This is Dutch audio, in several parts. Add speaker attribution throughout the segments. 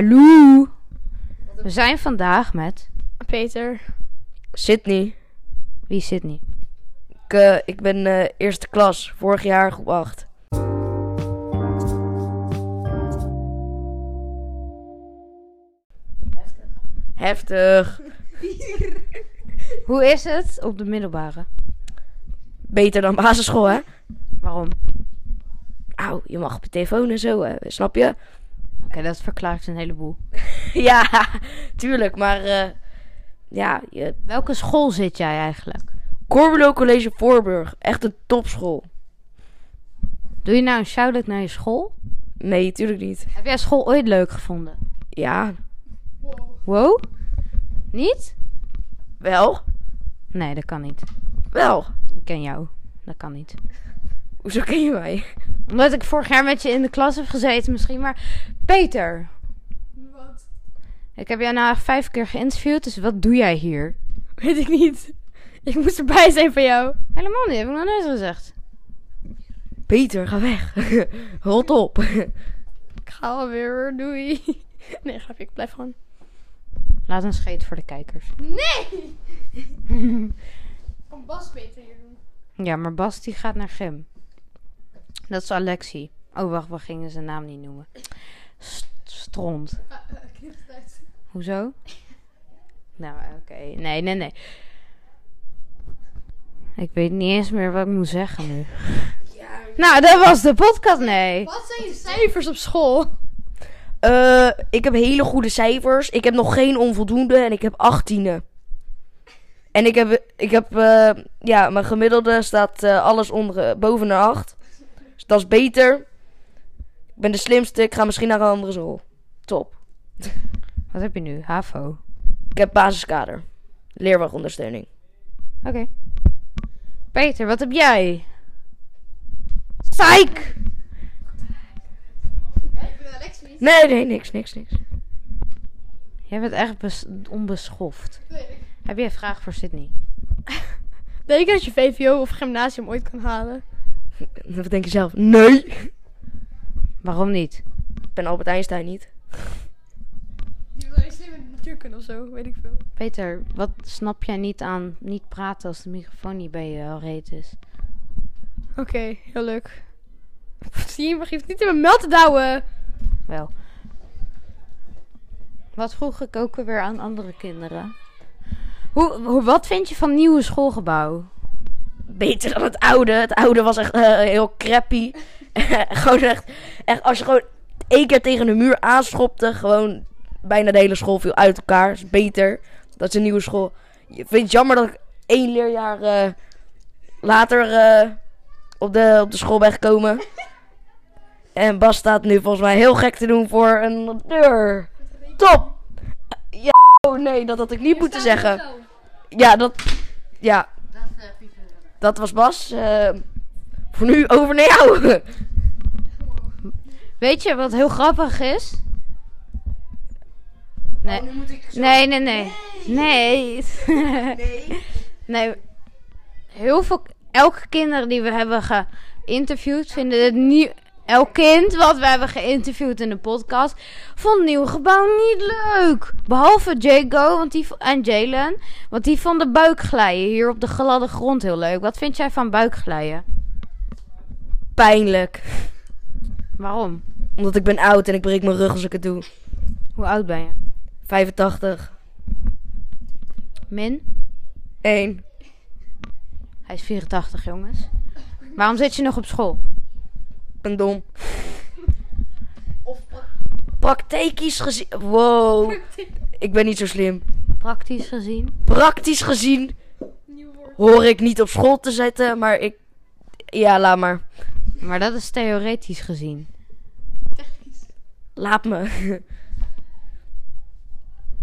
Speaker 1: Hallo. We zijn vandaag met
Speaker 2: Peter.
Speaker 3: Sydney.
Speaker 1: wie zit niet?
Speaker 3: Ik, eh, ik ben eh, eerste klas, vorig jaar groep 8. Heftig.
Speaker 1: Hoe is het op de middelbare?
Speaker 3: Beter dan basisschool, hè?
Speaker 1: Waarom? Oké,
Speaker 3: Auw, je mag op je telefoon en zo, hè? snap je?
Speaker 1: dat verklaart een heleboel.
Speaker 3: ja, tuurlijk, maar eh, ja, je...
Speaker 1: Welke school zit jij eigenlijk?
Speaker 3: Corbulo College Voorburg, echt een topschool.
Speaker 1: Doe je nou een shout-out naar je school?
Speaker 3: Nee, tuurlijk niet.
Speaker 1: Heb jij school ooit leuk gevonden?
Speaker 3: Ja,
Speaker 1: Wow? Niet?
Speaker 3: wel,
Speaker 1: Nee, dat kan niet.
Speaker 3: wel.
Speaker 1: Ik ken jou. Dat kan niet.
Speaker 3: Hoezo ken je mij?
Speaker 1: Omdat ik vorig jaar met je in de klas heb gezeten misschien, maar... Peter!
Speaker 2: Wat?
Speaker 1: Ik heb jou nou echt vijf keer geïnterviewd, dus wat doe jij hier?
Speaker 2: Weet ik niet. Ik moest erbij zijn van jou.
Speaker 1: Helemaal niet, heb ik nog nooit gezegd.
Speaker 3: Peter, ga weg. Rot op.
Speaker 2: Ik ga alweer, hoor. doei. Nee, grapje, ik blijf gewoon.
Speaker 1: Laat een scheet voor de kijkers.
Speaker 2: Nee! Kan Bas beter hier doen.
Speaker 1: Ja, maar Bas die gaat naar gym. Dat is Alexi. Oh, wacht, we gingen zijn naam niet noemen. St- stront.
Speaker 2: knip het uit.
Speaker 1: Hoezo? Nou, oké. Nee, nee, nee. Ik weet niet eens meer wat ik moet zeggen nu. Nou, dat was de podcast, nee.
Speaker 2: Wat zijn je cijfers op school?
Speaker 3: Eh, ik heb hele goede cijfers. Ik heb nog geen onvoldoende en ik heb achttienen. En ik heb, ik heb eh, ja, mijn gemiddelde staat eh, alles onder, eh, boven de acht. Dus dat is beter. Ik ben de slimste. Ik ga misschien naar een andere school. Top.
Speaker 1: Wat heb je nu? HAVO. Oké.
Speaker 3: Ik heb basiskader. Leerwegondersteuning.
Speaker 1: Peter, wat heb jij? Psych!
Speaker 2: Ik ben Alexie.
Speaker 3: Nee, nee, niks, niks, niks.
Speaker 1: Jij bent echt bes- onbeschoft. Heb jij een vraag voor Sydney?
Speaker 2: Denk je dat je VVO of gymnasium ooit kan halen?
Speaker 3: Wat denk je zelf? Nee.
Speaker 1: Waarom niet?
Speaker 3: Ik ben Albert Einstein niet.
Speaker 2: Je wil alleen slim in de natuurkunde of zo, weet ik veel.
Speaker 1: Peter, wat snap jij niet aan niet praten als de microfoon niet bij je reet is?
Speaker 2: Oké, heel leuk. Zie je, maar geef niet in mijn meld te douwen.
Speaker 1: Wel. Wat vroeg ik ook weer aan andere kinderen? Hoe, hoe, wat vind je van nieuwe schoolgebouw?
Speaker 3: beter dan het oude. Het oude was echt eh, heel crappy. gewoon echt, echt, als je gewoon één keer tegen de muur aanschopte, gewoon bijna de hele school viel uit elkaar. is beter. Dat is een nieuwe school. Je vindt het jammer dat ik één leerjaar eh, later eh, op, de, op de school ben gekomen. En Bas staat nu volgens mij heel gek te doen voor een deur. Top! Ja, oh nee, dat had ik niet moeten zeggen. Ja, dat. Ja. Dat was Bas. eh, voor nu over naar jou.
Speaker 1: Weet je wat heel grappig is?
Speaker 2: Oh,
Speaker 1: Nee, nee, nee, nee. Nee. Nee. Heel veel, elke kinderen die we hebben geïnterviewd, vinden het nieuw. Elk kind wat we hebben geïnterviewd in de podcast, vond het nieuwe gebouw niet leuk. Behalve Jago want die, vo- en Jalen, want die vonden buikglijden hier op de gladde grond heel leuk. Wat vind jij van buikglijden?
Speaker 3: Pijnlijk.
Speaker 1: Waarom?
Speaker 3: Omdat ik ben oud en ik breek mijn rug als ik het doe.
Speaker 1: Hoe oud ben je?
Speaker 3: 85.
Speaker 1: Min?
Speaker 3: 1.
Speaker 1: Hij is 84, jongens. Waarom zit je nog op school?
Speaker 3: Ik ben dom. Of praktisch gezien. Wow. Ik ben niet zo slim.
Speaker 1: Praktisch gezien.
Speaker 3: Praktisch gezien
Speaker 2: Nieuw woord.
Speaker 3: hoor ik niet op school te zitten, maar ik. Ja, laat maar.
Speaker 1: Maar dat is theoretisch gezien.
Speaker 3: Laat me.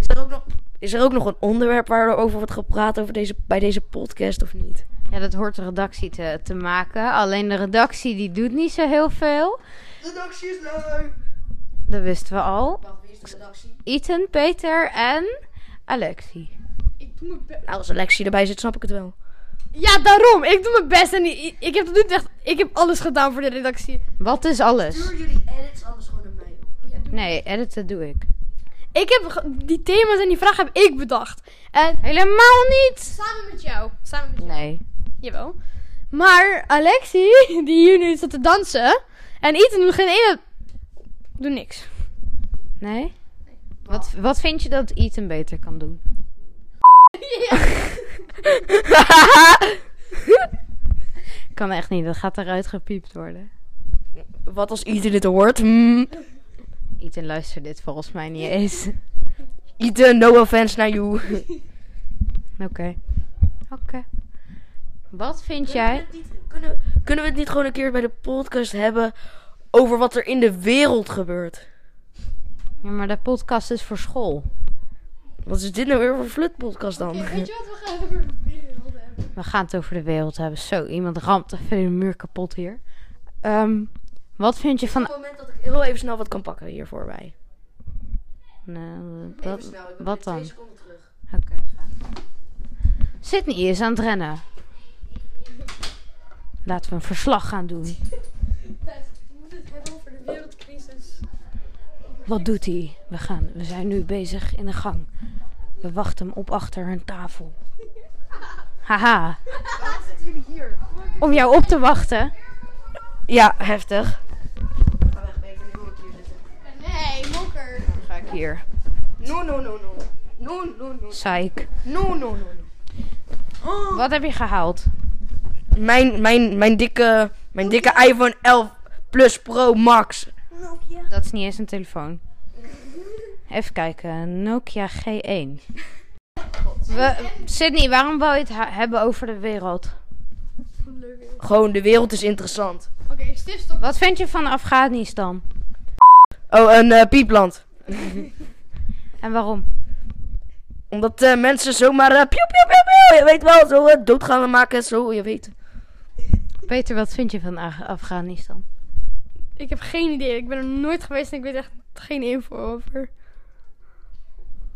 Speaker 3: Is er ook nog, is er ook nog een onderwerp waarover wordt gepraat over deze, bij deze podcast of niet?
Speaker 1: Ja, dat hoort de redactie te, te maken. Alleen de redactie die doet niet zo heel veel.
Speaker 3: Redactie is leuk.
Speaker 1: Dat wisten we al.
Speaker 3: Wacht, wie is de redactie?
Speaker 1: Ethan, Peter en Alexie.
Speaker 2: Ik doe mijn best.
Speaker 3: Nou, als Alexie erbij zit, snap ik het wel.
Speaker 2: Ja, daarom. Ik doe mijn best en i- ik heb tot nu toe echt... Ik heb alles gedaan voor de redactie.
Speaker 1: Wat is alles?
Speaker 3: jullie edits anders gewoon naar mij.
Speaker 2: Ja,
Speaker 1: Nee, editen doe ik.
Speaker 2: Ik heb ge- die thema's en die vragen heb ik bedacht. En
Speaker 1: Helemaal niet!
Speaker 2: samen met jou. Samen met jou.
Speaker 1: Nee.
Speaker 2: Jawel. Maar Alexi, die hier nu zat te dansen. En Ethan doet geen ene... Doet niks.
Speaker 1: Nee? Wat, wat vind je dat Ethan beter kan doen? Kan echt niet, dat gaat eruit gepiept worden.
Speaker 3: Wat als Ethan dit hoort? Hmm.
Speaker 1: Ethan luistert dit volgens mij niet eens.
Speaker 3: Ethan, no offense naar you.
Speaker 1: Oké. Oké. Wat vind jij?
Speaker 3: Kunnen, kunnen we het niet gewoon een keer bij de podcast hebben over wat er in de wereld gebeurt?
Speaker 1: Ja, maar de podcast is voor school.
Speaker 3: Wat is dit nou weer voor flutpodcast dan?
Speaker 2: je wat we gaan over wereld hebben?
Speaker 1: We gaan het over de wereld hebben. Zo, iemand ramt even de muur kapot hier. Ehm, wat vind je
Speaker 3: Op
Speaker 1: van...
Speaker 3: het moment dat ik heel even snel wat kan pakken hier voor mij.
Speaker 1: Nou, wat, wat dan? Oké,
Speaker 3: seconden terug.
Speaker 1: ga. Sydney is aan het rennen. Laten we een verslag gaan doen.
Speaker 2: We moeten het hebben over de wereldcrisis.
Speaker 1: Wat doet hij? We, gaan, we zijn nu bezig in de gang. We wachten hem op achter een tafel. Haha,
Speaker 2: Waarom zitten jullie hier?
Speaker 1: om jou op te wachten.
Speaker 3: Ja, heftig.
Speaker 2: Nee, mokker.
Speaker 1: Ga ik hier.
Speaker 3: No, no, no, no. No, no, no.
Speaker 1: Psych.
Speaker 3: No, no, no.
Speaker 1: Wat heb je gehaald?
Speaker 3: Mijn, mijn, mijn dikke, mijn dikke iPhone 11 Plus Pro Max.
Speaker 1: Dat is niet eens een telefoon. Even kijken, Nokia G1. We, Sydney, waarom wou je het ha- hebben over de wereld?
Speaker 3: Gewoon, de wereld is interessant.
Speaker 2: Oké, stifstop.
Speaker 1: Wat vind je van Afghanistan?
Speaker 3: Oh, een eh, piepland.
Speaker 1: En waarom?
Speaker 3: Omdat eh, mensen zomaar eh piep, piep, piep, piep, je weet wel, zo eh, dood gaan maken, zo, je weet.
Speaker 1: Peter, wat vind je van Af- Afghanistan?
Speaker 2: Ik heb geen idee. Ik ben er nooit geweest en ik weet echt geen info over.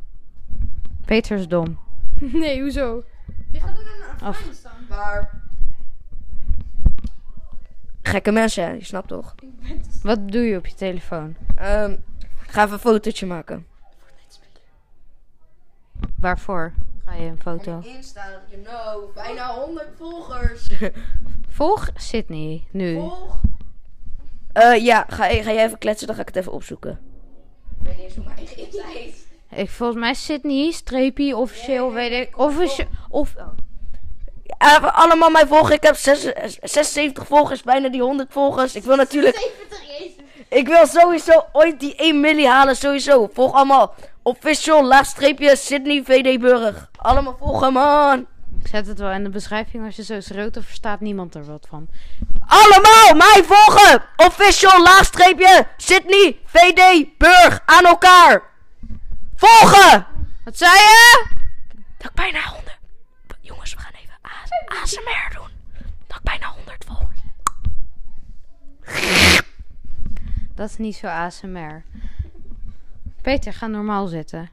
Speaker 1: Peter is dom.
Speaker 2: Nee, hoezo? Wie gaat er naar
Speaker 1: Af-
Speaker 3: Waar? Gekke mensen, hè? je snapt toch?
Speaker 1: Wat doe je op je telefoon?
Speaker 3: Ehm, ga even een fotootje maken.
Speaker 1: Waarvoor ga je een foto?
Speaker 3: Insta, you know, bijna 100 volgers.
Speaker 1: Volg Sydney nu.
Speaker 3: Eh, ja, ga, ga jij even kletsen, dan ga ik het even opzoeken. Ik weet niet eens hoe mijn eigen Insta heet.
Speaker 1: Ik, volgens mij is Sydney, streepie, officieel, weet ik. Offici of, oh.
Speaker 3: Even allemaal mij volgen, ik heb zes- eh, 76 volgers, bijna die 100 volgers. Ik wil natuurlijk... Ik wil sowieso ooit die 1 milli halen, sowieso. Volg allemaal official laagstreepje Sydney VD Burg. Allemaal volgen, man.
Speaker 1: Ik zet het wel in de beschrijving. Als je zo schreeuwt, dan verstaat niemand er wat van.
Speaker 3: Allemaal mij volgen. Official laagstreepje Sydney VD Burg aan elkaar. Volgen.
Speaker 1: Wat zei je?
Speaker 3: Dat ik bijna 100. Jongens, we gaan even A- ASMR doen. Dat ik bijna 100 volgers.
Speaker 1: Dat is niet zo ASMR. Peter, ga normaal zitten.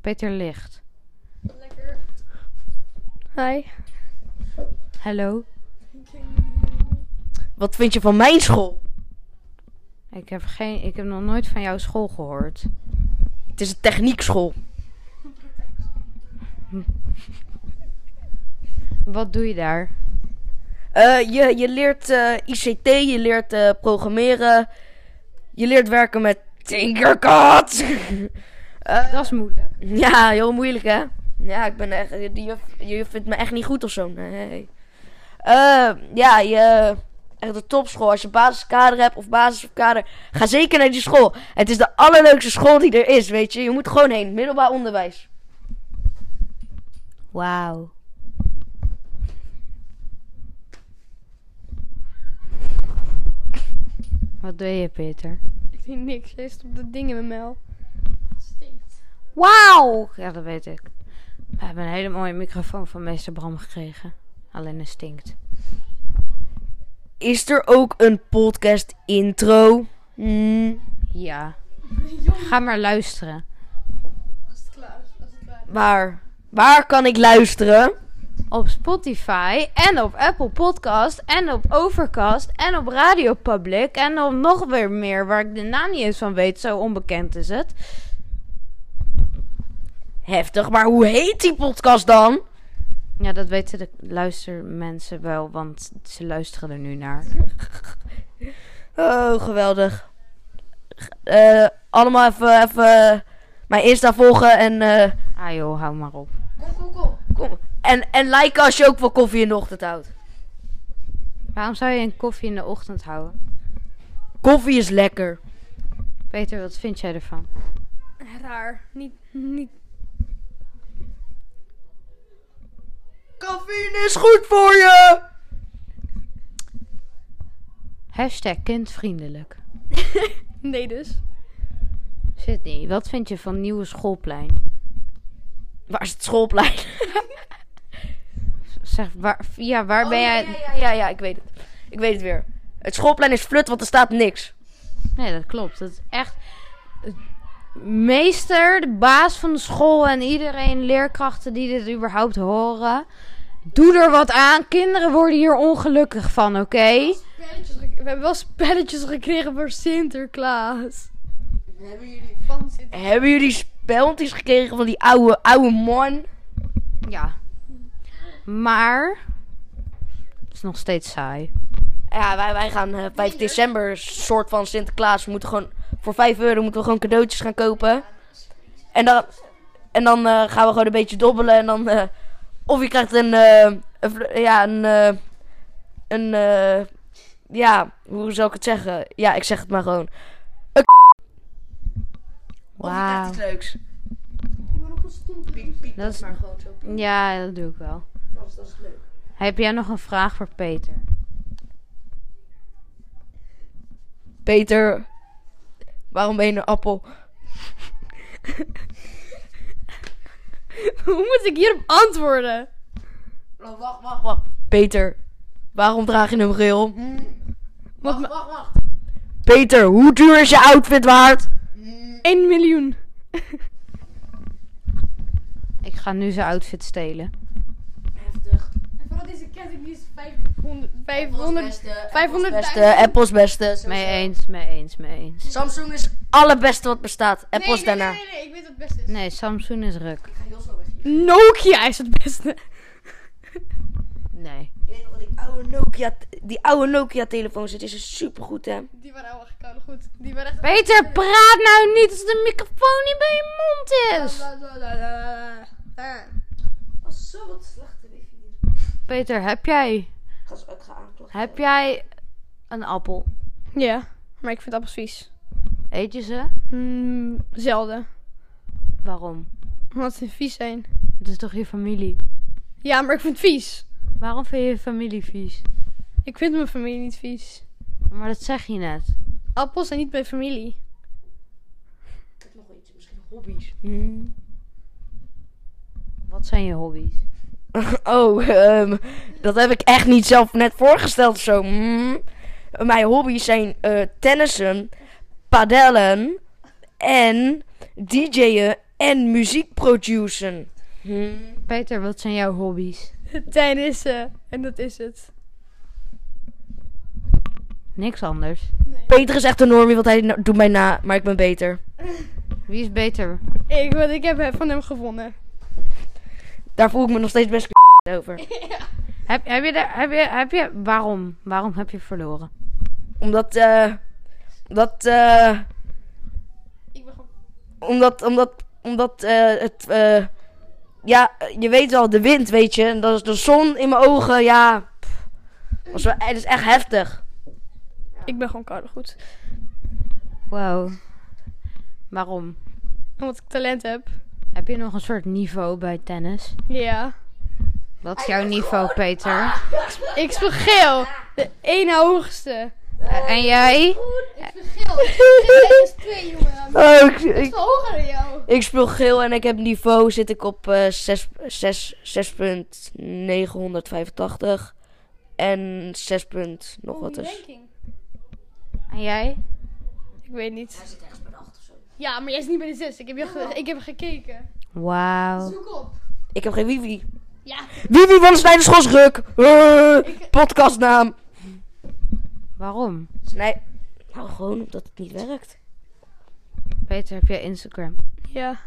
Speaker 1: Peter ligt.
Speaker 2: Hi.
Speaker 1: Hallo?
Speaker 3: Wat vind je van mijn school?
Speaker 1: Ik heb, geen, ik heb nog nooit van jouw school gehoord.
Speaker 3: Het is een techniekschool.
Speaker 1: Wat doe je daar?
Speaker 3: Eh, je, je leert eh, ICT, je leert eh, programmeren. Je leert werken met Tinkercad. Eh,
Speaker 1: Dat is moeilijk.
Speaker 3: ja, heel moeilijk hè. Ja, ik ben echt. Die juf, die juf vindt me echt niet goed of zo. Nee. Eh, ja, je. Echt de topschool. Als je basiskader hebt of basiskader, ga zeker naar die school. Het is de allerleukste school die er is, weet je. Je moet gewoon heen. Middelbaar onderwijs.
Speaker 1: Wauw. Wat doe je, Peter?
Speaker 2: Ik zie niks. Jij stopt de dingen met Mel.
Speaker 1: Wauw! Ja, dat weet ik. We hebben een hele mooie microfoon van meester Bram gekregen. Alleen het stinkt.
Speaker 3: Is er ook een podcast intro? Hmm.
Speaker 1: Ja. Ga maar luisteren.
Speaker 2: Als het klaar is. Als het klaar
Speaker 3: Waar? Waar kan ik luisteren?
Speaker 1: op Spotify en op Apple Podcast en op Overcast en op Radio Public en op nog weer meer waar ik de naam niet eens van weet, zo onbekend is het.
Speaker 3: Heftig, maar hoe heet die podcast dan?
Speaker 1: Ja, dat weten de luistermensen wel, want ze luisteren er nu naar.
Speaker 3: Oh, geweldig. Eh, allemaal even, even mijn Insta volgen en, eh,
Speaker 1: Ah joh, hou maar op.
Speaker 2: Kom, kom, kom.
Speaker 3: kom. en, en liken als je ook wel koffie in de ochtend houdt.
Speaker 1: Waarom zou je een koffie in de ochtend houden?
Speaker 3: Koffie is lekker.
Speaker 1: Peter, wat vind jij ervan?
Speaker 2: Raar. Niet, niet.
Speaker 3: Koffie is goed voor je!
Speaker 1: Hashtag kindvriendelijk.
Speaker 2: Nee dus.
Speaker 1: Sydney, wat vind je van nieuwe schoolplein?
Speaker 3: Waar is het schoolplein?
Speaker 1: Zeg, waar, ja, waar ben jij...
Speaker 3: Oh, ja, ja, ja, ja, ik weet het. Ik weet het weer. Het schoolplein is flut, want er staat niks.
Speaker 1: Nee, dat klopt. Dat is echt... Meester, de baas van de school en iedereen, leerkrachten die dit überhaupt horen. Doe er wat aan. Kinderen worden hier ongelukkig van, oké?
Speaker 2: Spelletjes gek- We hebben wel spelletjes gekregen voor Sinterklaas.
Speaker 4: Hebben jullie van zitten?
Speaker 3: Hebben jullie speltjes gekregen van die oude, oude man?
Speaker 1: Ja. Maar... Het is nog steeds saai.
Speaker 3: Ja, wij, wij gaan eh, 5 december, soort van Sinterklaas. We moeten gewoon, voor 5 euro moeten we gewoon cadeautjes gaan kopen. En dan, en dan eh, gaan we gewoon een beetje dobbelen. En dan, eh, of je krijgt een, eh, een vl- ja, een, eh, een, eh, ja, hoe zou ik het zeggen? Ja, ik zeg het maar gewoon. Een k- Of je krijgt
Speaker 1: Wauw.
Speaker 3: iets leuks.
Speaker 4: Die worden ook gestompt. Piep, piep,
Speaker 1: Dat is-
Speaker 4: maar gewoon zo. Piep,
Speaker 1: Ja, dat doe ik wel.
Speaker 4: dat, is, dat is leuk.
Speaker 1: Heb jij nog een vraag voor Peter?
Speaker 3: Peter, waarom ben je een appel?
Speaker 2: Hoe moet ik hierop antwoorden?
Speaker 4: Oh, wacht, wacht, Hm.
Speaker 3: Wacht, Peter, waarom draag je een bril?
Speaker 2: Wat
Speaker 4: wacht,
Speaker 2: me-
Speaker 4: wacht, wacht.
Speaker 3: Peter, hoe duur is je outfit waard?
Speaker 2: 1 miljoen.
Speaker 1: Ik ga nu zijn outfit stelen.
Speaker 4: Heftig.
Speaker 2: En vooral deze ketting die is 500, 500, 500
Speaker 3: Beste, Apple's beste.
Speaker 1: Mee eens, mee eens, mee eens.
Speaker 3: Samsung is allerbeste wat bestaat. Apple's daarna.
Speaker 2: Nee, nee, nee, ik weet wat het beste is.
Speaker 1: Nee, Samsung is ruk.
Speaker 4: Ik ga heel snel weg hier.
Speaker 2: Nokia is het beste.
Speaker 1: Nee.
Speaker 4: Je weet nog wat ik...
Speaker 3: Oude Nokia, die oude Nokia telefoon zit is supergoed hè.
Speaker 2: Die waren ouwe gekouden, goed. Die waren echt...
Speaker 1: Peter, praat nou niet als de microfoon niet bij je mond is.
Speaker 4: Dat is zo wat slechte wifi hier.
Speaker 1: Peter, heb jij,
Speaker 4: Ik ga, ik ga aankloppen.
Speaker 1: heb jij een appel?
Speaker 2: Ja, maar ik vind appels vies.
Speaker 1: Eet je ze?
Speaker 2: Mm, zelden.
Speaker 1: Waarom?
Speaker 2: Omdat ze vies zijn.
Speaker 1: Het is toch je familie?
Speaker 2: Ja, maar ik vind het vies.
Speaker 1: Waarom vind je je familie vies?
Speaker 2: Ik vind mijn familie niet vies.
Speaker 1: Maar dat zeg je net.
Speaker 2: Appels zijn niet mijn familie.
Speaker 4: Ik heb nog wel iets. Misschien
Speaker 3: Hobby's.
Speaker 1: Wat zijn je hobby's?
Speaker 3: Oh, ehm, dat heb ik echt niet zelf net voorgesteld of zo. Hmm. Mijn hobby's zijn eh, tennissen, padellen en DJ'en en muziek produceren. Hmm.
Speaker 1: Peter, wat zijn jouw hobby's?
Speaker 2: Tennissen. En dat is het.
Speaker 1: Niks anders.
Speaker 3: Peter is echt een normie, want hij no- doet mij na, maar ik ben beter.
Speaker 1: Wie is beter?
Speaker 2: Ik, want ik heb van hem gewonnen.
Speaker 3: Daar voel ik me nog steeds best over.
Speaker 1: Heb, heb je, de, heb je, heb je, waarom? Waarom heb je verloren?
Speaker 3: Omdat, eh. dat, eh.
Speaker 2: Ik ben gewoon...
Speaker 3: Omdat, omdat, omdat eh, het, eh, ja, je weet wel, de wind, weet je. En dat is de zon in mijn ogen, ja. pff, was wel, het is echt heftig.
Speaker 2: Ik ben gewoon koude, goed.
Speaker 1: Wow. Waarom?
Speaker 2: Omdat ik talent heb.
Speaker 1: Heb je nog een soort niveau bij tennis?
Speaker 2: Ja.
Speaker 1: Wat is jouw niveau, Peter?
Speaker 2: Ik speel geel. De ene hoogste.
Speaker 1: Eh, En jij?
Speaker 4: Ik vergeel. Ik is twee, jongen.
Speaker 3: Oh, ik, ik,
Speaker 4: Hoger dan jou.
Speaker 3: ik speel geel en ik heb niveau, zit ik op eh, zes- zes- 6.985. En 6. Punt, nog wat is.
Speaker 1: En jij?
Speaker 2: Ik weet niet.
Speaker 4: Hij zit ergens bij de acht of zo.
Speaker 2: Ja, maar jij is niet bij de zes. Ik heb, je ge- ik heb gekeken.
Speaker 1: Wauw.
Speaker 4: Zoek op.
Speaker 3: Ik heb geen wifi.
Speaker 4: Ja,
Speaker 3: Wie wie won Snijden Schosruk? Eh, podcastnaam.
Speaker 1: Waarom?
Speaker 3: Snij... Nou, gewoon omdat het niet werkt.
Speaker 1: Peter, heb jij Instagram?
Speaker 2: Ja.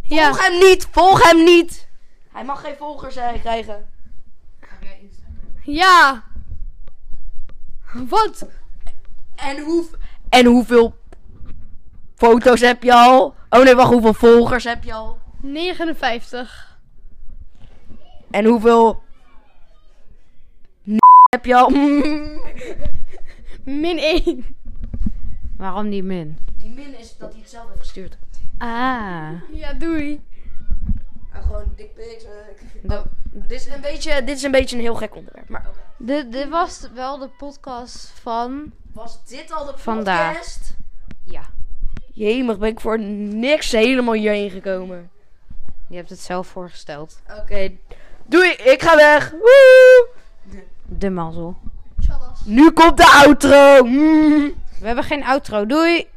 Speaker 2: Ja.
Speaker 3: Volg hem niet! Volg hem niet! Hij mag geen volgers eh, krijgen.
Speaker 2: Ja. Wat?
Speaker 3: En, hoe, en hoeveel foto's heb je al? Oh nee, wacht, hoeveel volgers heb je al?
Speaker 2: 59.
Speaker 3: En hoeveel... n- heb je al? Mm.
Speaker 2: Min 1.
Speaker 1: Waarom die min?
Speaker 4: die min is dat hij het zelf heeft gestuurd.
Speaker 1: Ah.
Speaker 2: Ja, doei.
Speaker 3: Oh,
Speaker 4: En gewoon dik pics. eh,
Speaker 1: Dat-
Speaker 3: Dit is, een beetje, dit is een beetje een heel gek onderwerp. Maar
Speaker 1: Dit, dit was wel de podcast van...
Speaker 4: Was dit al de
Speaker 1: Vandaag.
Speaker 4: podcast?
Speaker 1: Ja.
Speaker 3: jemig ben ik voor niks helemaal hierheen gekomen.
Speaker 1: Je hebt het zelf voorgesteld.
Speaker 3: Oké, doei, ik ga weg. Woe!
Speaker 1: De mazzel.
Speaker 4: Tjallas.
Speaker 3: Nu komt de outro. Mm.
Speaker 1: We hebben geen outro. Doei!